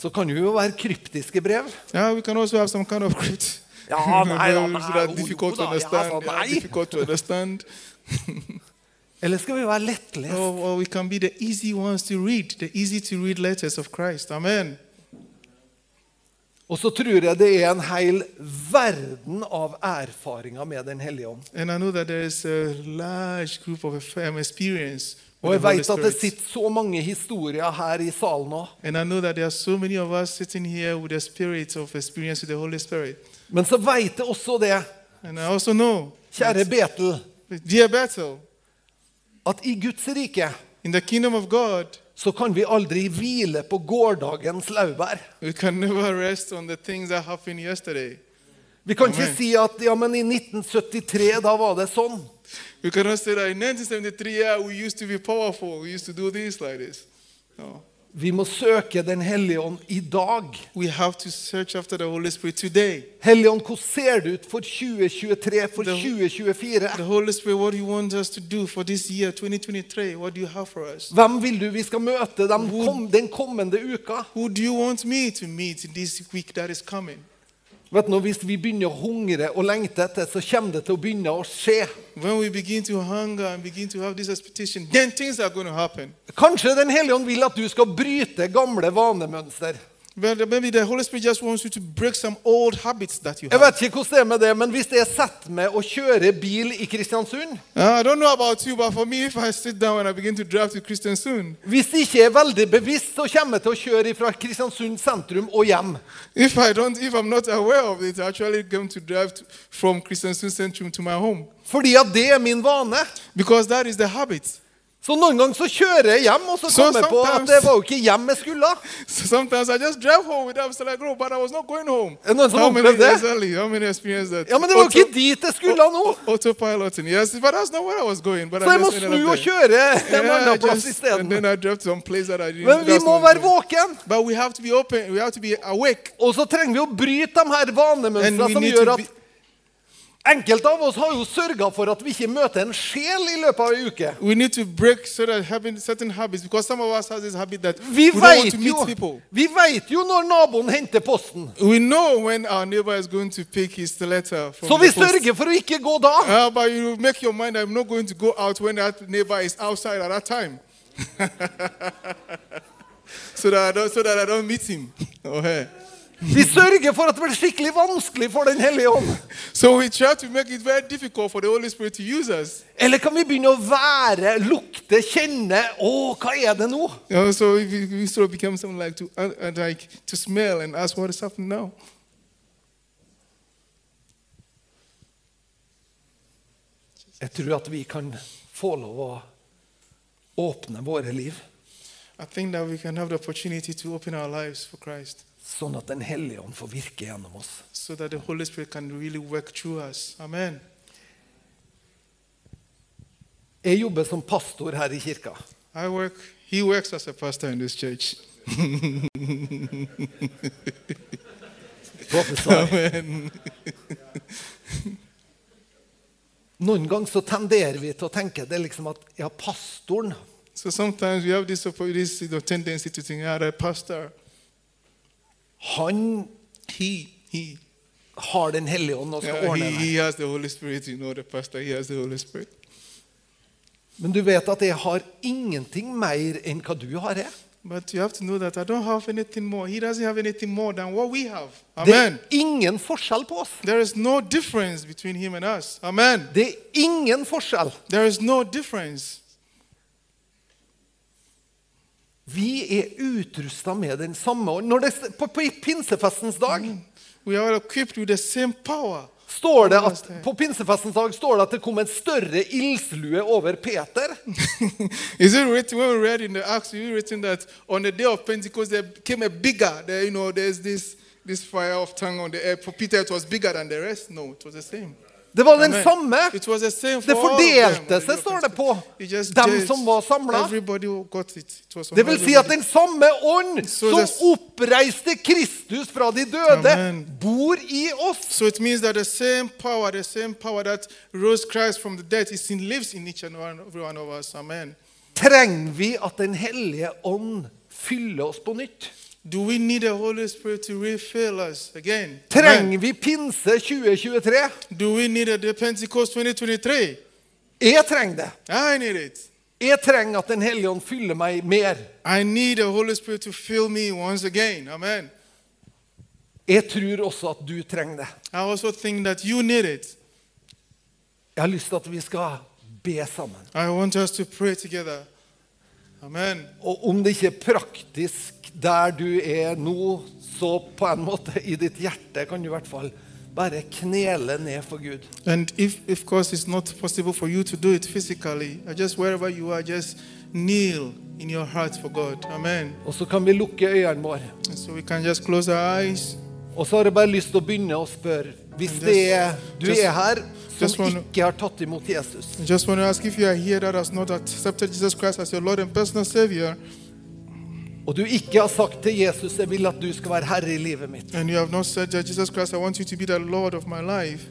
A: Så kan det jo være kryptiske brev.
B: Now we can also have some kind of crit.
A: Ja,
B: (laughs)
A: nei, ja,
B: Those
A: nei,
B: that
A: oh,
B: are difficult to
A: no, ja,
B: understand.
A: altså,
B: they are
A: nei.
B: difficult to understand.
A: Eller skal vi være lettlest?
B: Or, or we can be the easy ones to read, the easy to read letters of Christ. Amen.
A: Og så tror jeg det er en hel verden av erfaringer med Den hellige ånd.
B: And I know that there is a large group of um, experience. with
A: Og jeg
B: the Holy
A: vet at det
B: Spirit.
A: sitter så mange historier her i salen òg.
B: And I know that there are so many of us sitting here with the spirit of experience with the Holy Spirit.
A: Men så vet jeg også det,
B: And I also know,
A: kjære Betel,
B: dear Bethel,
A: at i Guds rike
B: in the kingdom of God,
A: så kan vi aldri hvile på gårsdagens laurbær.
B: we can never rest on the things that happened yesterday.
A: Vi kan ikke
B: Amen.
A: si at ja, men i 1973 da var det sånn.
B: We cannot say that in 1973, yeah, we used to be powerful. We used to do this like this. No.
A: Vi må søke Den hellige ånd i dag.
B: We have to search after the Holy Spirit today.
A: Hellige ånd, hvordan ser det ut for 2023, for
B: Det-
A: 2024?
B: The Holy Spirit, what do you want us to do for this year, 2023? What do you have for us?
A: Hvem vil du vi skal møte dem kom, den kommende uka?
B: Who do you want me to meet in this week that is coming?
A: Vet du, nå, Hvis vi begynner å hungre og lengte etter, så kommer det til å begynne å skje.
B: When we begin to hunger and begin to have this expectation, then things are going to happen.
A: Kanskje Den hellige ånd vil at du skal bryte gamle vanemønster.
B: But maybe the Holy Spirit just wants you to break some old habits that you
A: Jeg
B: have.
A: vet ikke hvordan det er med det, men hvis jeg setter meg og kjører bil i Kristiansund
B: Uh, I don't know about you, but for me, if I sit down and I begin to drive to Christian soon,
A: Hvis jeg ikke er veldig bevisst, så kommer jeg til å kjøre fra Kristiansund sentrum og hjem.
B: if I don't, if I'm not aware of it, I actually going to drive to, from Christian soon Centrum to my home
A: Fordi at det er min vane.
B: because that is the habit. (laughs)
A: Så noen ganger så kjører jeg hjem, og så
B: Så
A: kommer jeg på at
B: sometimes-
A: det var jo ikke hjem jeg skulle.
B: So sometimes I just drive home without Stella Grove, but I was not going home.
A: And that's
B: how
A: not eh?
B: many
A: like that.
B: exactly? How many experience that?
A: Ja, Men det var jo ikke dit jeg skulle nå!
B: autopiloting. Yes, but that's not where I was going. But
A: Så
B: I
A: jeg må
B: just
A: snu
B: ended up
A: og
B: there.
A: kjøre en
B: Yeah, I
A: annen plass
B: just- and
A: isteden.
B: then I drove to some place that I didn't.
A: Men vi
B: that's
A: må
B: not
A: være
B: good.
A: våken.
B: But we have to be open. We have to be awake.
A: Og så trenger vi å bryte de her
B: And
A: vanemønstrene
B: we
A: som
B: need
A: gjør
B: to
A: at
B: be,
A: Enkelte av oss har jo sørga for at vi ikke møter en sjel i løpet av ei uke.
B: we need to break certain, having certain habits because some of us have this habit that
A: Vi
B: we don't want
A: veit
B: to meet
A: jo,
B: people.
A: vi vet jo når naboen henter posten,
B: We know when our neighbor is going to pick his letter from
A: så
B: the
A: vi
B: post.
A: sørger for å ikke gå da.
B: Uh, but you make your mind, I'm not going to go out when that neighbor is outside at that time. (laughs) so, that I don't, so that I don't meet him (laughs) or her.
A: Vi sørger for at det blir skikkelig vanskelig for Den hellige ånd.
B: So we try to make it very difficult for the Holy Spirit to use us.
A: Eller kan vi begynne å være, lukte, kjenne Å, hva er det nå?
B: You know, so we, we- we sort of become something like to, uh, uh, like to smell and ask what is happening now.
A: Jeg tror at vi kan få lov å åpne våre liv,
B: I think that we can have the opportunity to open our lives for Christ
A: sånn at Den hellige ånd får virke gjennom oss.
B: so that the Holy Spirit can really work through us. Amen.
A: Jeg jobber som pastor her i kirka.
B: I work, he works as a pastor in this church.
A: Professor.
B: Amen.
A: Noen ganger så tenderer vi til å tenke det er liksom at ja, pastoren
B: So sometimes we have this, oppo- this you know, tendency to think, ah, the pastor,
A: han
B: he, he,
A: har Den hellige ånd og skal
B: yeah,
A: ordne
B: he,
A: det.
B: he has the Holy Spirit. You know, the pastor, he has the Holy Spirit.
A: Men du vet at jeg har ingenting mer enn hva du har. Jeg.
B: But you have to know that I don't have anything more. He doesn't have anything more than what we have.
A: Det
B: Amen.
A: er ingen forskjell på oss.
B: there is no difference between him and us. Amen.
A: Det er ingen forskjell.
B: There is no difference.
A: Vi er utrusta med den samme ånd. Når det, på, på pinsefestens dag
B: We are equipped with the same power. (laughs)
A: står det at, på pinsefestens dag står det at det kom en større ildslue over Peter.
B: is it written when we read in the Acts? Is it written that on the day of Pentecost there came a bigger? There, you know, there's this this fire of tongue on the air. For Peter, it was bigger than the rest. No, it was the same.
A: Det var den
B: Amen.
A: samme.
B: It was the same for
A: Det
B: all of them on the
A: fordelte seg,
B: day of
A: står det på.
B: Pentecost. It just-
A: Dem
B: just-
A: som var samlet.
B: Everybody got it. It was on
A: Det vil si at
B: everybody.
A: den samme ånd
B: Så
A: som
B: det-
A: oppreiste Kristus fra de døde,
B: Amen.
A: bor i oss.
B: So it means that the same power, the same power that rose Christ from the dead, is in, lives in each and one, every one of us. Amen.
A: Trenger vi at Den hellige ånd fyller oss på nytt?
B: Do we need the Holy Spirit to refill us again? Amen.
A: Trenger vi pinse 2023?
B: Do we need a the Pentecost 2023?
A: Jeg trenger det.
B: I need it.
A: Jeg trenger at Den hellige ånd fyller meg mer.
B: I need the Holy Spirit to fill me once again. Amen.
A: Jeg tror også at du trenger det.
B: I also think that you need it.
A: Jeg har lyst til at vi skal be sammen.
B: I want us to pray together. Amen.
A: Og om det ikke er praktisk der du er nå, så på en måte i ditt hjerte kan du i hvert fall bare knele ned for Gud.
B: And if, if, of course, it's not possible for you to do it physically, uh, just wherever you are, just kneel in your heart for God. Amen.
A: Og så kan vi lukke øynene våre.
B: And so we can just close our eyes.
A: Og så har jeg bare lyst til å begynne å spørre Hvis
B: Just-
A: det er du
B: just-
A: er her
B: just
A: som
B: wanna-
A: ikke har tatt imot Jesus,
B: I just want to ask if you are here that has not accepted Jesus Christ as your Lord and personal Savior,
A: og du ikke har sagt til Jesus 'Jeg vil at du skal være herre i livet mitt',
B: and you have not said that Jesus Christ, I want you to be the Lord of my life,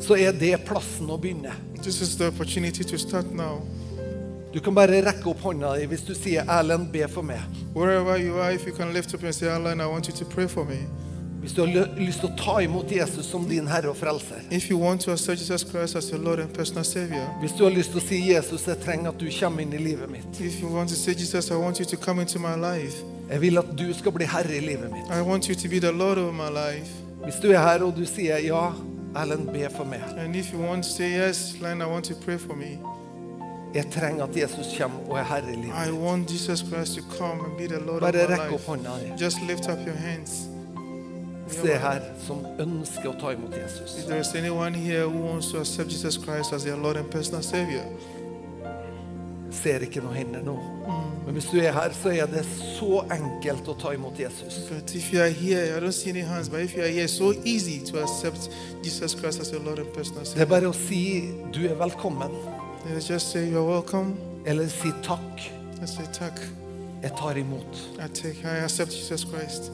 A: så er det plassen å begynne.
B: this is the opportunity to start now.
A: Du kan bare rekke opp hånda di hvis du sier 'Erlend, be for meg'.
B: Wherever you are, if you can lift up and say, Alan, I want you to pray for me.
A: Hvis du har lø- lyst til å ta imot Jesus som din herre og frelser.
B: If you want to accept Jesus Christ as your Lord and personal Savior,
A: Hvis du har lyst til å si 'Jesus, jeg trenger at du kommer inn i livet mitt'.
B: if you want to say, Jesus, I want you to come into my life,
A: Jeg vil at du skal bli herre i livet mitt.
B: I want you to be the Lord of my life.
A: Hvis du er her og du sier 'Ja, Erlend, be for meg'.
B: And if you want to say, Yes, Alan, I want to pray for me,
A: Jeg trenger at Jesus kommer og er herre i livet.
B: I want Jesus Christ to come and be the Lord of
A: Bare
B: my
A: rekk opp
B: life.
A: hånda di.
B: Just lift up your hands.
A: Se her som ønsker å ta imot Jesus.
B: If there is anyone here who wants to accept Jesus Christ as their Lord and personal Savior,
A: ser ikke noe hender nå. Men hvis du er her, så er det så enkelt å ta imot Jesus.
B: but if you are here, I don't see any hands, but if you are here, it's so easy to accept Jesus Christ as your Lord and personal
A: Det
B: Savior.
A: er bare å si 'du er velkommen',
B: They just say, You're welcome.
A: eller si 'takk,
B: I say, Tak.
A: jeg tar imot'.
B: I take, I accept Jesus Christ.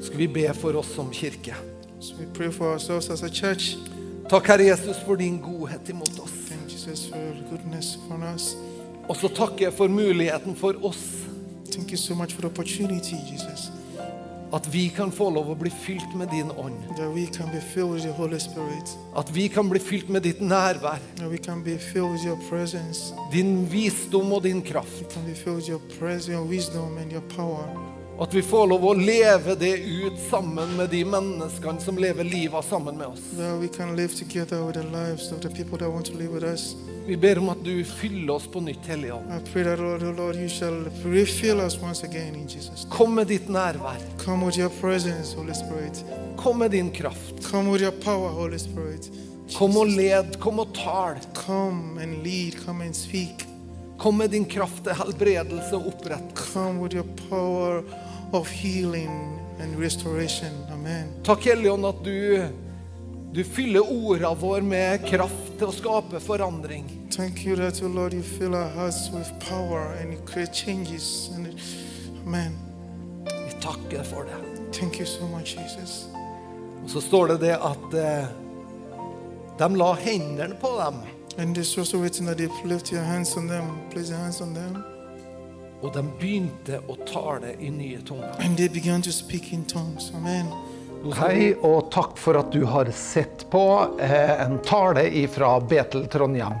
A: Skal vi be for oss som kirke?
B: So we pray for ourselves as a church.
A: Takk, Herre Jesus, for din godhet imot oss.
B: Thank Jesus for your goodness upon us.
A: Og så takker jeg for muligheten for oss
B: Thank you so much for the opportunity, Jesus,
A: at vi kan få lov å bli fylt med din ånd.
B: that we can be filled with the Holy Spirit,
A: At vi kan bli fylt med ditt nærvær,
B: that we can be filled with your presence,
A: din visdom og din kraft.
B: we can be filled with your presence, your wisdom, and your power.
A: Og at vi får lov å leve det ut sammen med de menneskene som lever livet sammen med oss.
B: that we can live together with the lives of the people that want to live with us.
A: Vi ber om at du fyller oss på nytt, Hellige Ånd.
B: I pray that, Lord, oh Lord, you shall refill us once again in Jesus. name.
A: Kom med ditt nærvær.
B: Come with your presence, Holy Spirit.
A: Kom med din kraft.
B: Come with your power, Holy Spirit.
A: Kom og led, kom og tal.
B: Come and lead, come and speak.
A: Kom med din kraft til helbredelse og opprett.
B: Come with your power of healing and restoration. Amen.
A: Takk, Hellige Ånd, at du, du fyller ordene våre med kraft til å skape forandring.
B: Thank you that, oh Lord, you fill our hearts with power and you create changes. And Amen.
A: Vi takker for det.
B: Thank you so much, Jesus.
A: Og så står det det at eh, de la hendene på dem,
B: And it's also written that they lift your hands on them, place your hands on them.
A: og de begynte å tale i nye tunger.
B: And they began to speak in tongues. Amen.
A: Hei, og takk for at du har sett på eh, en tale fra Betel Trondheim.